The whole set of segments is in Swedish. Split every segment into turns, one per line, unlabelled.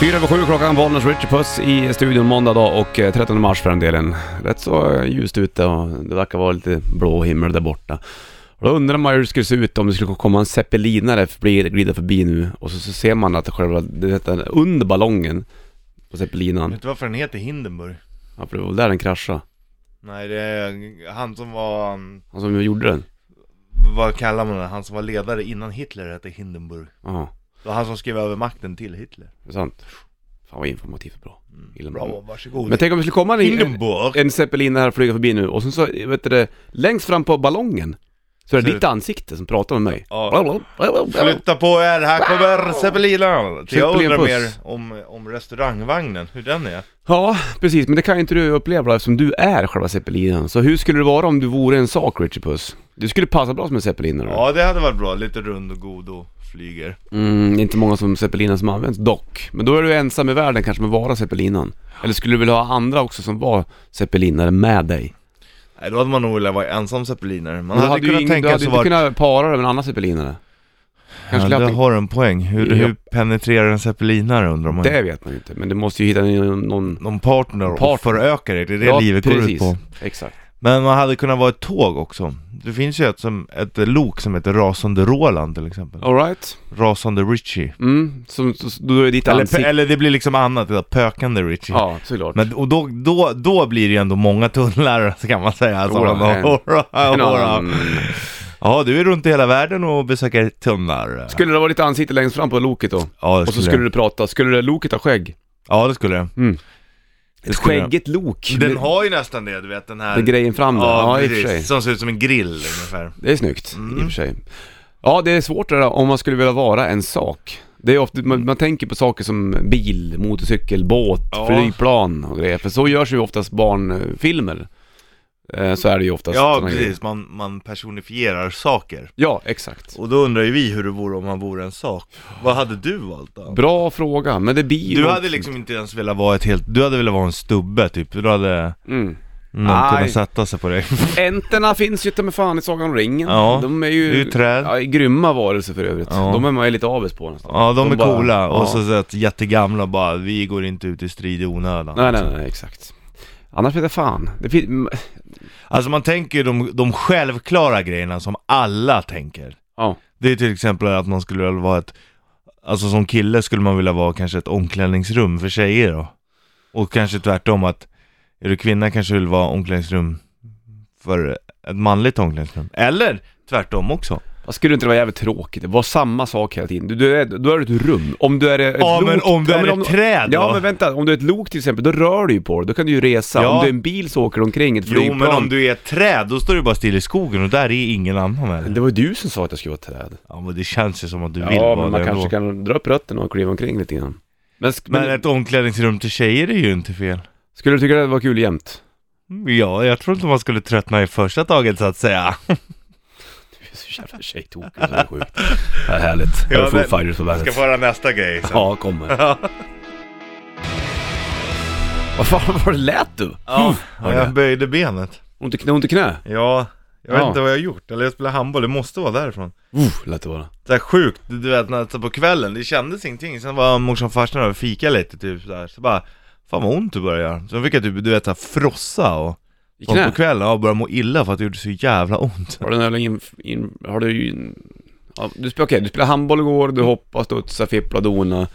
Fyra över sju klockan, Bollnäs Richard Puss i studion måndag dag och eh, 13 mars för den delen. Rätt så eh, ljust ute och det verkar vara lite blå himmel där borta. Och då undrar man hur det skulle se ut om det skulle komma en zeppelinare förbi- glida förbi nu och så, så ser man att själva, det heter, under ballongen på
Vet
zeppelinan,
du varför den heter Hindenburg?
ja, för det var väl där den kraschade.
Nej det är han som var, mm,
Han som gjorde den.
vad kallar man det? Han som var ledare innan Hitler hette Hindenburg
Ja,
Det var han som skrev över makten till Hitler
det är sant. Fan vad informativt och bra. Gillar man.
Bra, varsågod
Mm. Men tänk om det skulle komma en, en,
Hindenburg!
en zeppelinare här och flyga förbi nu och sen så, vet du det, längst fram på ballongen så är det
Så-
ditt ansikte som pratar med mig.
Ja. Flytta på er, här kommer Zeppelinan! Jag
Zeppelin
undrar
puss.
mer om, om restaurangvagnen, hur den är
Ja, precis, men det kan ju inte du uppleva eftersom du är själva zeppelinen. Så hur skulle det vara om du vore en sak, Richie Puss? Du skulle passa bra som en zeppelinare.
Ja det hade varit bra, lite rund och god och flyger
Mm, det är inte många som zeppeliner som används dock. Men då är du ensam i världen kanske med att vara zeppelinan. Eller skulle du vilja ha andra också som var zeppelinare med dig?
Nej då hade man nog velat vara ensam zeppelinare, man
Men
hade,
ju
kunnat
ingen- du
tänka
hade
sig
inte
vara
kunnat para dig med en annan zeppelinare. Kanske
Ja,
lät
du
det-
har en poäng, hur, hur
Ja.
penetrerar en zeppelinare undrar man ju.
Det vet man ju inte, men du måste ju hitta någon... någon
någon partner,
Partner.
och förökar det, det är det
Ja,
livet går ut på
Exakt.
Men man hade kunnat vara ett tåg också Det finns ju ett, som, ett lok som heter Rasande Roland till exempel
Alright.
Rasande Richie
Mm, som, så, då är ditt
eller,
ansikte...
eller det blir liksom annat, det där Pökande Richie
Ja, såklart.
Men, och då, då, då blir det ju ändå många tunnlar så kan man säga alltså,
Jodå, en- En annan-
Ja du är runt i hela världen och besöker tunnlar
Skulle det vara ditt ansikte längst fram på loket då?
Ja det
Och så
skulle,
skulle
det.
du prata, skulle det loket ha skägg?
Ja det skulle det.
Mm.
Det skulle det.
lok?
Den har ju nästan det du vet den här
Med grejen fram där, ja, i och för sig.
Som ser ut som en grill ungefär
Det är snyggt, i och
Mm.
för sig. Ja, det är svårt det där om man skulle vilja vara en sak. Det är ofta, man, man tänker på saker som bil, motorcykel, båt,
Ja.
flygplan och grejer. För så görs ju oftast barnfilmer. Eh, Så är det ju oftast.
Ja
såna grejer.
precis, man, man personifierar saker
Ja, exakt.
Och då undrar ju vi hur det vore om man vore en sak Vad hade du valt då?
Bra fråga, men det blir ju
Du
något-
hade liksom inte ens velat vara ett helt, du hade velat vara en stubbe typ, du hade
Mm.
någon
Nej.
kunnat sätta sig på dig
Änterna finns ju inte med fan i Sagan om ringen.
Ja,
de är ju,
det är ju träd.
Ja, grymma varelser för övrigt.
Ja.
De är man ju lite avis på nästan.
Ja de,
De
är
bara-
coola,
ja.
och så så att jättegamla bara, vi går inte ut i strid i onödan
Nej, nej, nej, exakt. Annars vet jag fan. Det fin- m-
Alltså man tänker ju de, de självklara grejerna som alla tänker
ja.
Det är till exempel att man skulle vilja vara ett Alltså som kille skulle man vilja vara kanske ett omklädningsrum för tjejer då Och kanske tvärtom att Är du kvinna kanske vill vara omklädningsrum För ett manligt omklädningsrum Eller tvärtom också
Vad skulle det inte vara jävligt tråkigt? Det var samma sak hela tiden. Du, du är, då är du ett rum. Om du är ett
Ja,
lok...
men om du är
men
ett träd
Ja
då?
men vänta, om du är ett lok till exempel, då rör du ju på dig. Då kan du ju resa.
Ja.
Om du är en bil så åker du omkring, ett
Jo
flygplan.
men om du är ett träd då står du bara still i skogen och där är ingen annan eller?
Det var ju du som sa att jag skulle vara ett träd.
Ja men det känns ju som att du vill
Ja,
vara
men man
det
kanske
ändå.
kan dra upp rötterna och kliva omkring lite grann. Men, sk-
Men
men,
ett omklädningsrum till tjejer är ju inte fel
skulle du tycka det var kul jämt?
Ja, jag tror inte man skulle tröttna i första taget så att säga
Du är så jävla tjejtokig så det är sjukt. Det är härligt. Här är Foo Fighters på bandet.
höra nästa grej sen.
Ja, kommer. Vad fan var det lät du?
Ja,
Hörde
jag
jag.
böjde benet.
Ont i knä, ont i knä.
Ja, jag
Ja.
vet inte vad jag har gjort. Eller jag spelar handboll, det måste vara därifrån.
Uff, Uh, lät det vara.
Så här sjukt, du du vet när, så på kvällen, det kändes ingenting. Sen var morsan och farsan och fika lite typ så där. Så bara, fan vad ont det började göra. Sen fick jag typ, du vet så här, frossa och
I
sånt
knä?
på kvällen och började må illa för att det gjorde så jävla ont.
Har du någon in, in, har du ju... Ja, du spelade, okej, du spelade handboll igår, du hoppade, studsade, fipplade, donade.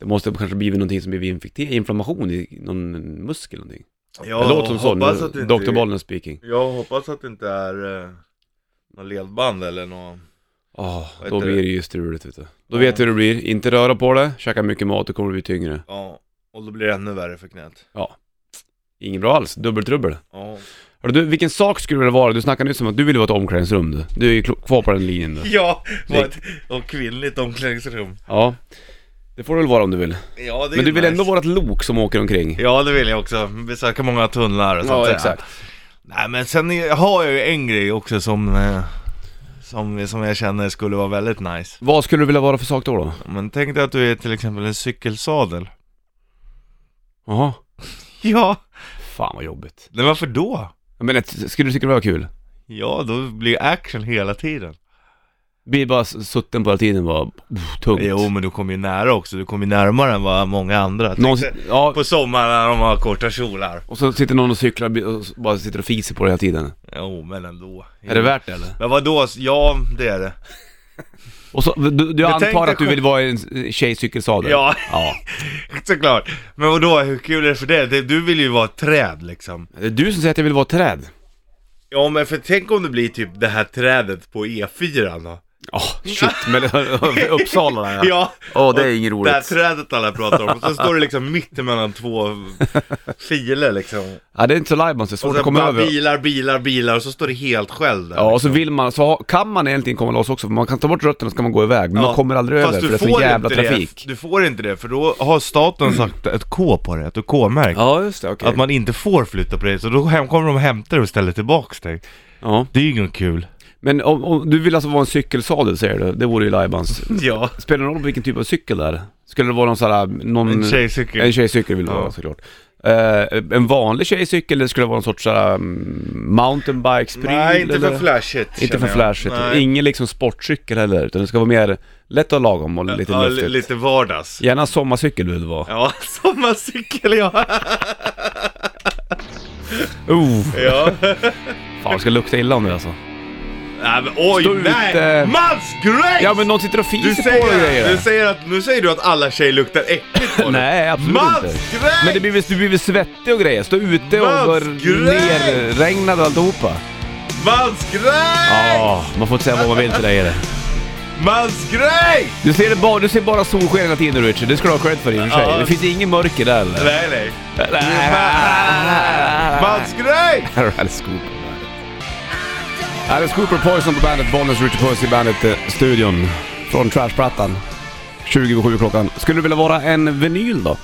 Det måste kanske blivit någonting som blivit infekterat, inflammation i någon muskel eller någonting.
Ja,
det låter som så,
hoppas att det
nu,
inte-
Dr. Bollner speaking.
Jag hoppas att det inte är eh, något ledband eller något...
Ja,
Vad
då
heter
blir
det?
det ju struligt vet du. Då
Ja.
vet du hur det blir, inte röra på det, käka mycket mat, då kommer du bli tyngre.
Ja, och då blir det ännu värre för knät.
Inget bra alls, dubbeltrubbel.
Ja.
Hörru du, vilken sak skulle det vara? Du snackade nyss om att du ville vara ett omklädningsrum du. Du är ju klo- kvar på den linjen du.
Ja, var ett och kvinnligt omklädningsrum.
Ja. Det får du väl vara om du vill.
Ja, det är
Men du vill
nice.
ändå vara ett lok som åker omkring?
Ja, det vill jag också. Besöka många tunnlar och sånt
Ja,
där.
exakt.
Nej, men sen är- har jag ju en grej också som, eh, som, som jag känner skulle vara väldigt nice.
Vad skulle du vilja vara för sak då? då?
Men tänk dig att du är till exempel en cykelsadel.
Jaha.
Ja,
Fan vad jobbigt.
men varför då?
Men ett, skulle du tycka det var kul?
Ja, då blir action hela tiden.
Blir bara s- sutten på hela tiden var pff, tungt.
Jo men du kommer ju nära också, du kommer ju närmare än vad många andra
Någon,
tänkte.
ja,
På sommaren när de har korta kjolar.
och så sitter någon och cyklar bi- och s- bara sitter och fiser på det hela tiden.
Jo men ändå.
Är det värt det eller?
Men vadå? Ja det är det.
Och så, du, du
Men tänk
antar
dig
att du
själv-
vill vara i en tjejcykelsadel?
Ja.
ja.
Såklart. Men vadå, hur kul är det för dig? Det- Du vill ju vara ett träd liksom.
Det är du som säger att jag vill vara ett träd.
Ja men för tänk om det blir typ det här trädet på E4 då.
Ja, shit. Men Uppsala där
Ja.
Åh, det är inget
Det här
roligt.
trädet alla pratar om. Och så står det liksom mitt emellan två filer liksom.
Ja, det är inte så lajban, så det är
Och
svårt att
sen
komma
bara
över.
bilar, bilar, bilar och så står det helt själv där.
Ja, och så vill man, så ha- kan man egentligen komma loss också, för man kan ta bort rötterna så kan man gå iväg, men
Ja,
man kommer aldrig
fast
över
du
för det är
får
så jävla
inte
trafik.
Det. Du får inte det, för då har staten sagt ett K på det, ett K-märkt.
Ja, just det, okej.
Att man inte får flytta på det, så då hem- kommer de och hämtar det och ställer tillbaks dig.
Ja.
Det är ju inget kul.
Men om, om, du vill alltså vara en cykelsadel säger du? Det vore ju lajbans.
Ja.
Spelar det någon roll vilken typ av cykel det är? Skulle det vara någon sån här, någon...
En tjejcykel.
En tjejcykel vill du
Ja.
ha såklart. Eh, en vanlig tjejcykel eller skulle det vara någon sorts såhär mountainbikes-pryl?
Nej, inte
eller?
för flashigt.
Inte för
känner jag.
flashigt.
Nej.
Ingen liksom sportcykel heller, utan det ska vara mer lätt och lagom och lite
ja, li-
luftigt.
lite vardags.
Gärna sommarcykel vill det vara.
Ja, sommarcykel ja.
Oh,
ja.
fan det ska lukta illa om det alltså.
Nej men oj,
Stå
nej!
ute.
Mans Grace!
Ja men någon sitter och
du
fiser på och
säger, du
grejer.
säger att, nu säger du att alla tjejer luktar äckligt på dig.
Nej, absolut
Mans
inte.
Grace!
Men det blir väl, du blir väl svettig och grejer? Stå ute och
Mats
var
Grej!
nerregnad och alltihopa.
Mans Grace!
Ja, man får inte säga vad man vill till dig är det.
Mans Grace!
Du ser, det bara, du ser bara solsken hela tiden Richard, det ska du ha cred för i och för sig.
Ja.
Det finns ingen mörker där eller?
Nej nej.
Nej.
Mans Grace!
Alice Cooper. Alice Cooper, Poison på bandet, Bonus, Richard Puss i eh, bandet-studion. Från Trashplattan. 27 klockan. Skulle du vilja vara en vinyl då?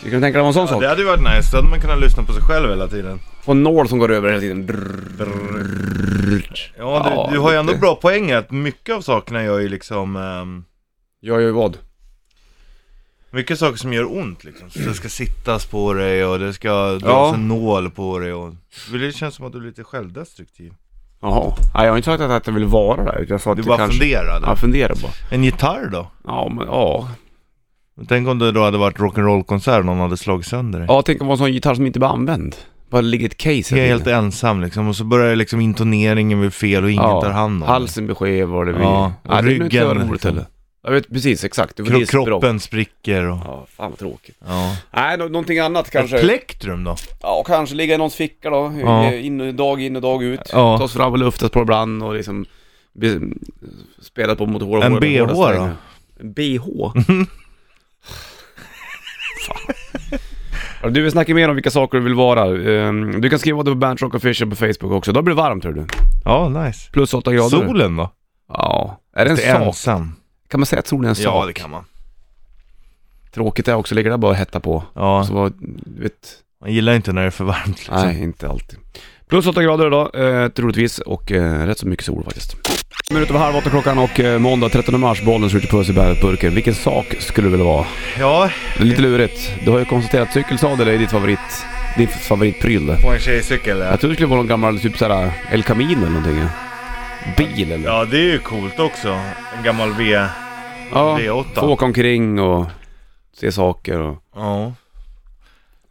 Skulle du tänka dig vara en sån sak?
Det hade ju varit nice, då hade man kunnat lyssna på sig själv hela tiden.
Få en nål som går över hela tiden. Brrr.
Ja, du,
Mm. Ja,
du har ju
lite.
ändå bra poäng att mycket av sakerna gör ju liksom ehm,
Jag gör ju vad?
Mycket saker som gör ont liksom, så det ska sittas på dig och det ska dras
Ja.
en nål på dig och Det känns som att du är lite självdestruktiv
Jaha. Nej, jag har inte sagt att jag vill vara där. utan Jag sa att
Du
jag
bara
kanske...
funderade
Ja, funderar bara.
En gitarr då?
Ja, men ja.
Tänk om det då hade varit rock'n'roll-konsert och någon hade slagit sönder dig
Ja, tänk om det var en sån gitarr som inte blir använd. Bara ligger ett case hela
Helt
tiden.
ensam liksom, och så börjar liksom intoneringen bli fel och ingen tar hand om det.
halsen blir skev och det blir...
Ja, och
Nej, det är nog inte så
ryggen,
roligt
liksom.
heller. Jag vet precis, exakt. Det
Kro-
blir språk.
Kroppen spricker och...
Ja, fan vad tråkigt.
Ja.
Nej, nå- någonting annat
Ett
kanske.
plektrum då?
Ja, kanske ligga i någons ficka då.
Ja.
In och dag in och dag ut.
Ja.
Tas fram och luftas på ibland och liksom... bli- Spelat på mot hål och
En
hål med hårda
BH
strängar.
då?
En BH? Fan. Ja, Du vill snacka mer om vilka saker du vill vara. Ehm, Du kan skriva det på Bernt Rock Official på Facebook också. Då blir det varmt hör du.
Ja, nice
Plus 8 grader.
Solen då?
Ja. Är det en
Det är
sak?
ensam
Kan man säga att solen är en sak?
Ja, det kan man
Tråkigt är också, ligger där bara och hettar på.
Ja,
Så vad, du vet,
man gillar inte när det är för varmt liksom.
nej inte alltid. Plus 8 grader idag, eh, troligtvis, och eh, rätt så mycket sol faktiskt. Minut över halv åtta klockan och eh, måndag 13 mars, bollen skjuter puss i bandet-burken. Vilken sak skulle du vilja vara?
Ja,
Det är lite
Mm.
lurigt. Du har ju konstaterat att cykelsadel är ditt favorit, din favoritpryl.
på en tjejcykel ja.
Jag trodde det skulle vara någon gammal typ såhär El Camino eller någonting. ja. Bil eller?
Ja, det är ju coolt också. En gammal V...
ja.
V8.
Få åka omkring och se saker och
Ja.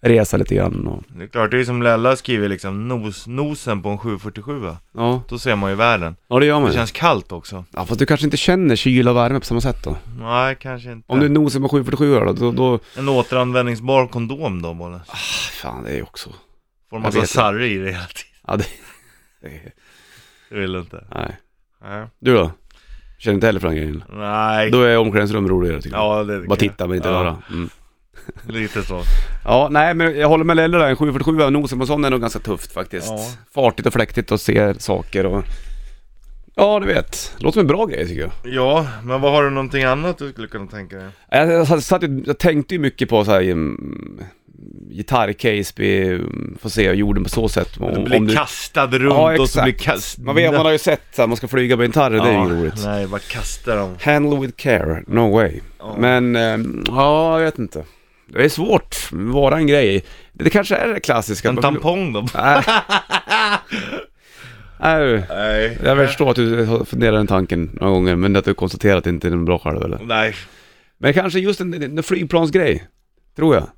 resa lite grann och...
Det är klart, det är ju som Lella skriver liksom, nos, nosen på en 747
Ja,
Då ser man ju världen.
ja det gör man
Det
ju.
känns kallt också.
Ja, fast du kanske inte känner kyla och värme på samma sätt då?
Nej, kanske inte.
Om du nosar på 747 då, då, då...
En återanvändningsbar kondom då, Bolle.
Fan, det är ju också...
Får
Jag
massa
vet
sarri i det hela tiden.
Ja, det... det är-
Det vill du inte.
Nej.
Nej.
Du då? Känner inte heller för den grejen?
Nej.
Då är omklädningsrum roligare tycker jag.
Ja, det
Bara titta men inte
Ja.
röra. Mm.
Lite så.
Ja, nej men jag håller med Lelle där. En 747 av nosen på sån är nog ganska tufft faktiskt.
Ja.
Fartigt och fläktigt och ser saker och... Ja, du vet. Låter som en bra grej tycker jag.
Ja, men vad har du någonting annat du skulle kunna tänka dig?
Jag, jag, satt- satt, ju- jag tänkte ju mycket på så här, mm, gitarr, Caseby, mm, får se jorden på så sätt. Om,
Du blir
om
kastad runt
Ja,
och så
exakt.
blir kast...
Man, vet, man har ju sett att man ska flyga med gitarrer, det är ju inget roligt.
Nej, bara kasta dem.
Handle with care, no way.
Ja.
Men, ehm, ja, jag vet inte. Det är svårt, vara en grej. Det kanske är det klassiska.
En tampong då?
Nej. Nej,
Nej.
jag förstår att du har funderat den tanken några gånger, men att du konstaterar att det inte är en bra själv eller?
Nej.
Men kanske just en, en flygplansgrej, tror jag.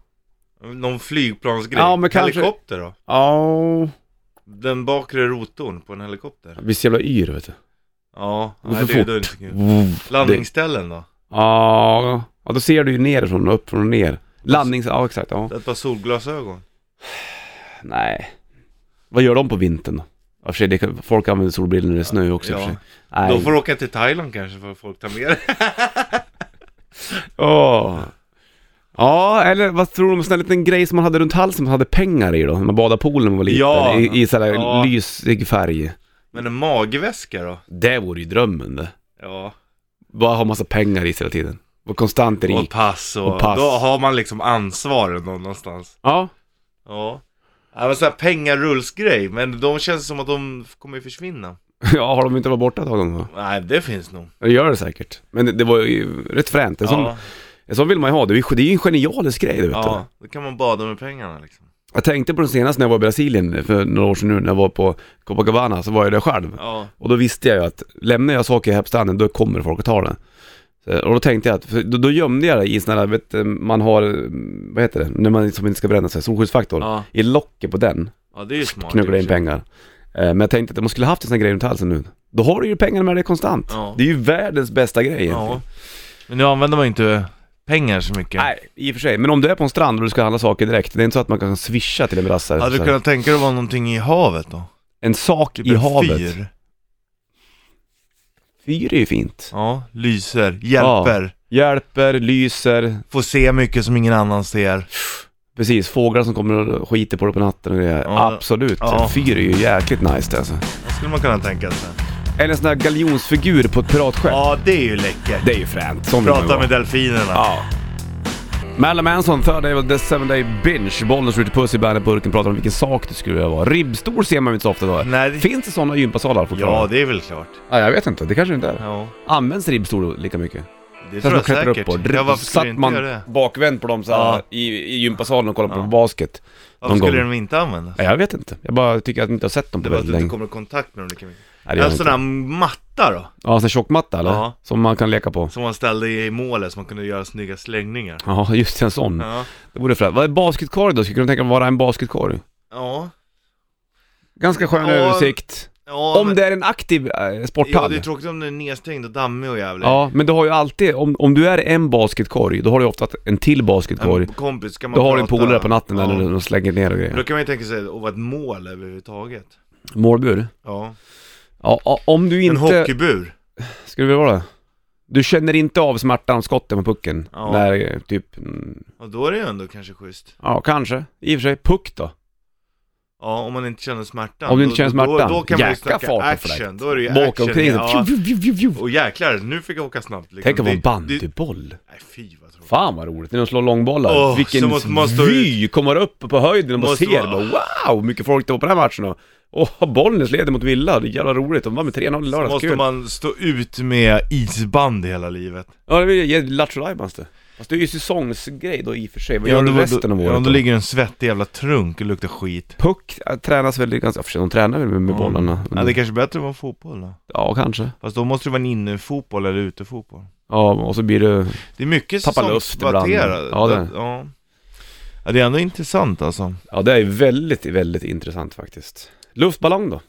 Någon flygplansgrej.
Ja, men kanske-
Helikopter då?
Ja,
Den bakre rotorn på en helikopter?
visst jävla yr vet du.
Ja,
Går
nej,
för
det är
fort.
ju inte kul.
Vuff, det-
Landningsställen då?
Ja, ja, då ser du ju nerifrån och upp från och ner. Landnings... Ja, exakt. Ja.
Ett par solglasögon?
Nej. Vad gör de på vintern då? Ja, för sig, det kan, folk använder solbrillor när det är snö också i och för sig. Nej.
Då får du åka till Thailand kanske för att folk tar med det.
Åh. Ja, eller vad tror du om en sån här liten grej som man hade runt halsen som hade pengar i då? När man badade i poolen när man var liten.
Ja.
I, i sån här
Ja.
lysig färg.
Men en magväska då?
Det vore ju drömmen det.
Ja.
Bara ha massa pengar i sig hela tiden. Och konstant
Och
rik.
pass och,
Och pass.
Då har man liksom ansvar ändå någonstans.
Ja.
Ja. Ja men såhär pengarullsgrej, men de känns som att de kommer ju försvinna.
ja, har de inte varit borta ett tag då?
Nej, det finns nog.
Det gör det säkert. Men det, det var ju rätt fränt. En sån,
Ja,
en sån vill man ju ha. Det är ju- det är ju en genialisk grej, du vet du.
ja, då kan man bada med pengarna liksom.
Jag tänkte på det senast när jag var i Brasilien för några år sedan nu när jag var på Copacabana så var jag där själv.
Ja,
Och då visste jag ju att lämnar jag saker här på stranden då kommer folk att ta det. Så, Och då tänkte jag att, för då, då gömde jag det i sådana där, vet, du, man har, mm, vad heter det, när man som inte ska bränna sig, solskyddsfaktor.
ja,
I locket på den
ja det är ju smart.
knuggla
i
in
och för sig.
pengar. Eh, Men jag tänkte att om man skulle haft en sån här grej runt halsen nu, då har du ju pengarna med dig konstant.
Ja.
Det är ju världens bästa grej egentligen.
Ja. Men nu använder man ju inte pengar så mycket.
Nej, i och för sig. Men om du är på en strand och du ska handla saker direkt, det är inte så att man kan swisha till en brassare.
Hade
så
du
här.
kunnat tänka dig att vara någonting i havet då?
En sak
Typ
i
en
havet.
Fyr.
Fyr är ju fint.
Ja, lyser, hjälper,
Hjälper, lyser,
får se mycket som ingen annan ser.
precis, fåglar som kommer och skiter på dig på natten och det är.
Ja.
Absolut,
Ja.
fyr är ju jäkligt nice det alltså.
Det skulle man kunna tänka sig.
Eller en sån här galjonsfigur på ett piratskepp.
Ja, det är ju läckert.
Det är ju fränt. Sån vill man ju
Prata
vara.
med delfinerna.
Ja. Marilyn Manson, Third Day of the Seven Day Binge, Bollnäs Ritchie Puss i Bandet-burken pratar om vilken sak det skulle vilja vara. Ribbstol ser man ju inte så ofta då.
Nej.
Finns det sådana gympasalar
Ja,
fortfarande?
det är väl klart.
Ja, jag vet inte. Det kanske inte är.
Ja,
Används ribbstol lika mycket?
det
Sen
tror
man
jag
klättrar
säkert.
upp och
ja,
drr,
varför skulle
satt
inte
man
göra det?
bakvänd på dem så här
Ja.
i, i gympasalen och kollade
Ja.
på basket.
Varför
någon
skulle
gång.
de inte använda?
Nej, jag vet inte. Jag bara tycker att jag inte har sett dem
Det
på
var att
väldigt
du inte
länge.
kommer i kontakt med dem lika mycket.
Nej, det gör
En
jag
sån
inte.
där matta då,
Ja, sån tjockmatta eller?
Ja.
Som man kan leka på.
som man ställde i målet så man kunde göra snygga slängningar.
Ja, just en sån.
Ja,
Det vore fränt. Vad är basketkorg då? Skulle du tänka dig vara en basketkorg?
ja.
Ganska skön
Ja,
översikt.
ja
om
men-
det är en aktiv eh,
Ja,
sporthall.
det är
Ja,
tråkigt om den är nedstängd och dammig och jävlig.
men du har ju alltid, om, om du är en basketkorg, då har du ofta en till basketkorg.
En kompis, ska man
Då har du en
prata?
polare på natten där när de slänger ner och
Men Då
grejer.
kan man ju tänka sig att vara ett mål överhuvudtaget.
Målbur?
Ja.
Ja, o- om du
En
inte...
hockeybur.
Ska du vilja vara det? Du känner inte av smärtan av skotten på pucken?
Ja.
När eh, typ, mm,
Och då är det ju ändå kanske schysst.
ja kanske. I och för sig, puck då?
Ja, om man inte känner smärtan.
Om du
Då-
inte känner
Då,
smärtan.
då, då kan man ju
Jäkla
snacka
fart och
action.
fläkt.
Då är det ju
Bara Åka
action.
omkring
ja.
ja.
Och jäklar, nu fick jag åka snabbt. Liksom.
Tänk att vara typ. en
Det- det-
bandyboll.
Nej, fy vad tråkigt.
Fan vad roligt, när de slår långbollar.
Åh, så
Vilken
måste man stå
vy kommer upp på höjden och man
Måste
ser.
vara-
Bara, wow, mycket folk det var på den här matchen. då. Åh, Bollnäs leder mot Villa. Det är jävla roligt. De vann med 3-0 i
Så
lördags.
måste
Kul.
man stå ut med isband hela livet.
Ja, det blir ju Lattjo Lajbans det. Fast det är ju säsongsgrej då i och för sig. Vad gör du
då-
resten av
då-
året?
Ja, då
då?
ligger en svettig jävla trunk och luktar skit.
Puck äh, tränas väl ganska, för sig, de tränar väl med, med
Ja.
bollarna.
Ja, det är kanske bättre att vara fotboll då.
Ja, kanske.
Fast då måste det vara en innefotboll eller utefotboll.
Ja, och så blir det...
Det är mycket
Tappa luft ibland.
säsongsbaserat.
Ja, det-
ja. ja, det är ändå intressant alltså.
Ja, det är väldigt, väldigt intressant faktiskt. Luftballong då?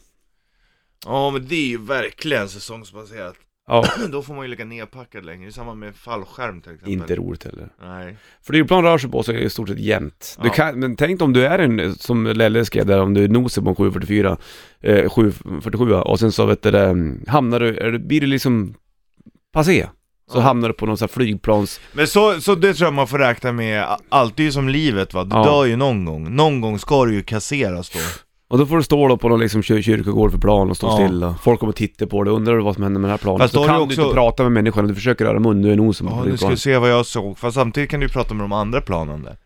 Ja, men det är ju verkligen säsongsbaserat.
Ja,
Då får man ju ligga nerpackad längre, i samband med fallskärm till exempel.
inte roligt heller.
Nej.
Flygplan rör sig på sig i stort sett jämnt. Du
Ja.
kan, men tänk om du är en, som Lelle skrev där, om du noser på en 744, eh, 747 och sen så vet du, det, mm, hamnar du, är du- blir du liksom passé. Så
Ja.
hamnar du på någon sån här flygplans...
Men så, så det tror jag man får räkna med, a- allt är ju som livet va, du
Ja. Mm,
dör ju någon gång. Någon gång ska du ju kasseras då.
Och då får du stå då på någon liksom kyr- kyrkogård för plan och stå
Ja.
stilla. Folk kommer titta på dig, undrar vad som händer med det här planet.
Fast då
så kan
har du
du
också-
inte prata med människan, du försöker röra mun, du är nosen på
Ja, nu ska vi
flygplanet.
se vad jag såg, fast samtidigt kan du ju prata med de andra planen där.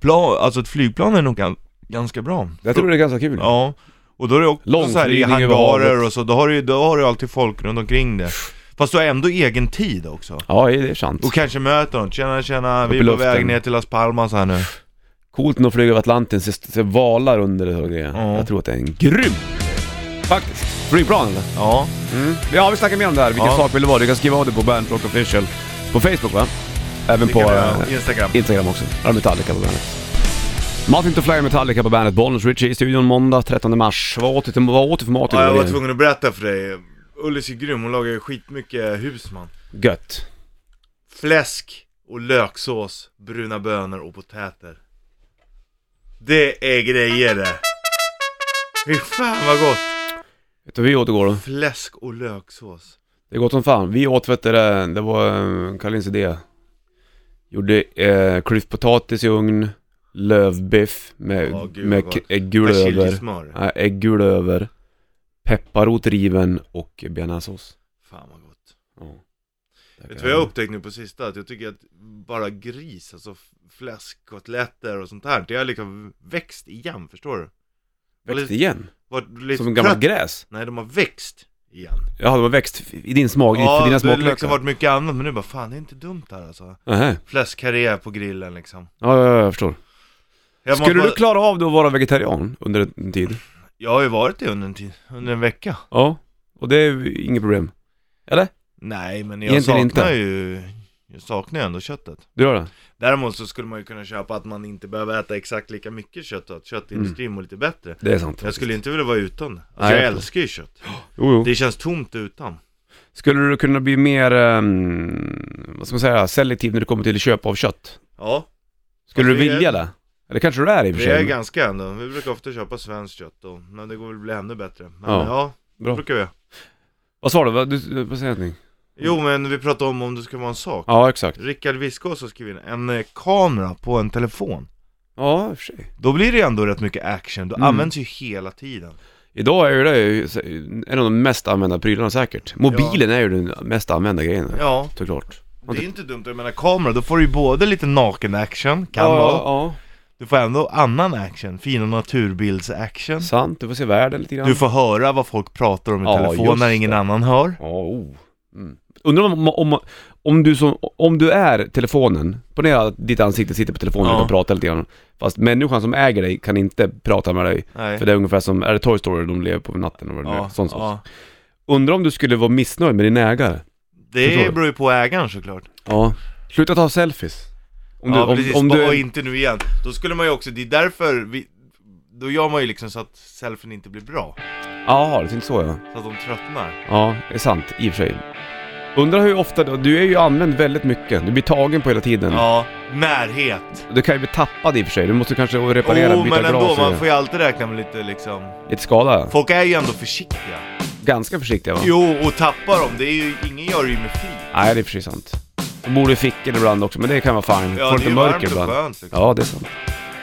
Plan, alltså ett flygplan är nog gan- ganska bra.
Jag tror det är ganska kul.
Typ. Ja, och då är det också så här i
Långflygning över
hangarer
havet.
och så, då har du ju då har du alltid folk runt omkring dig. Fast du har ändå egen tid också.
Ja, det är sant.
Och kanske möter någon, tjena tjena,
Upp
vi
i
är på
luften.
väg ner till Las Palmas här nu.
Coolt när de flyger över Atlanten, ser, ser valar under det och grejer.
Ja.
Jag tror att det är en grym Faktiskt. Flygplan eller?
Ja.
Mm. Ja, vi snackar mer om det här. Vilken
Ja.
sak vill det vara? Du kan skriva av dig på Bandrock Official på Facebook va? Även på eh,
Instagram.
Instagram också. Där har Metallica på bandet. Martin to Fly Metallica på bandet. Bollnäs Richie i studion måndag 13 mars. Vad åt du, till- vad åt du för mat
Ja, jag var
igår?
tvungen att berätta för dig. Ullis är grym, hon lagar ju skitmycket hus man.
Gött.
Fläsk och löksås, bruna bönor och potäter. Det är grejer det. Fy fan vad gott!
Vet du vad vi åt igår då?
Fläsk och löksås.
Det är gott som fan. Vi åt vet du, det det var eh, Karlins idé. Gjorde eh, klyftpotatis i ugn, lövbiff med,
Ja, gud,
med
vad
k-
gott.
äggula över,
Persiljesmör.
nej, äggula över, pepparrot riven och bearnaisesås.
Fan vad gott.
Ja.
Vet du vad jag har upptäckt nu på sista? Att jag tycker att bara gris, alltså fläskkotletter och sånt här, det har liksom växt igen, förstår du?
Växt igen?
Varit lite
Som en gammalt
trött.
gräs?
Nej, de har växt igen.
Jaha, det var växt i din smak, i för
Ja,
dina
det har
smaklökar?
liksom varit mycket annat, men nu bara fan det är inte dumt här alltså.
Nähä.
Fläskkarré på grillen liksom.
Ja, ja, ja, jag förstår.
Jag,
Skulle
var-
du klara av då att vara vegetarian under en tid?
jag har ju varit det under en, tid, under en vecka.
Ja, och det är ju inget problem. Eller?
Nej, men jag
Egentligen
saknar
inte.
ju, jag saknar ju ändå köttet.
Du gör det?
Däremot så skulle man ju kunna köpa att man inte behöver äta exakt lika mycket kött och att köttindustrin
Mm.
mår lite bättre.
Det är sant.
Jag skulle inte vilja vara utan det. Alltså,
Nej,
jag
jag
älskar ju kött.
Jo, jo.
Det känns tomt utan.
Skulle du kunna bli mer, ehm, vad ska man säga, selektiv när det kommer till köp av kött?
Ja,
Skulle
Alltså,
du
det är-
vilja det? Eller kanske du är i och för
det är
sig.
ganska ändå. Vi brukar ofta köpa svenskt kött då, men det går väl bli ännu bättre. Men
Ja.
ja, ja det
Bra.
brukar vi.
Vad sa du? Vad, du vad säger ni?
Jo, men vi pratade om om det ska vara en sak.
Ja, exakt.
Rickard Wiskås har skrivit in en eh, kamera på en telefon.
Ja, i och för sig.
Då blir det ändå rätt mycket action, då
Mm.
används ju hela tiden.
Idag är ju det ju en av de mest använda prylarna säkert. Mobilen är ju den mest använda grejen,
Ja,
såklart.
det är inte dumt. Jag menar kamera, då får du ju både lite naken action, kan
ja,
vara.
ja,
Du får ändå annan action, fina naturbilds-action.
ja, sant. Du får se världen lite grann.
Du får höra vad folk pratar om i
Ja,
telefon
just
när ingen
det.
annan hör.
Ja, oh. mm. Undrar om, om, om, du som, om du är telefonen, ponera att ditt ansikte sitter på telefonen
Ja.
och pratar lite grann. Fast människan som äger dig kan inte prata med dig.
Nej.
För det är ungefär som, är det Toy Story de lever på natten och vad det nu är?
ja,
Sånt sånt.
ja.
Undrar om du skulle vara missnöjd med din ägare? Förstår du?
Det beror ju på ägaren såklart.
Ja. Sluta ta selfies. Om du,
ja,
om,
precis.
om
Bara, Och
du,
inte nu igen. Då skulle man ju också, det är därför vi, då gör man ju liksom så att selfien inte blir bra.
ja, det är inte så ja.
Så att de tröttnar.
Ja, det är sant. I och för sig. Undrar hur ofta, du du är ju använd väldigt mycket. Du blir tagen på hela tiden.
Ja, närhet.
Du kan ju bli tappad i och för sig. Du måste kanske reparera,
oh,
byta
men ändå,
glas.
man
Man
får ju alltid räkna med lite liksom,
Lite skada.
folk är ju ändå försiktiga.
Ganska försiktiga va?
Jo, och tappar dem, det är ju, ingen gör det ju med flit.
Nej, det är precis sant. De bor i fickor ibland också, men det kan vara fine. Får
Ja, det är
lite
ju
mörker
varmt och
ibland.
skönt liksom.
Ja, det är sant.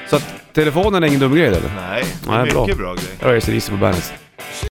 Så att telefonen är ingen dum grej eller?
Nej, det är
Nej, bra.
mycket bra, grej.
Jag har Easy på bandet.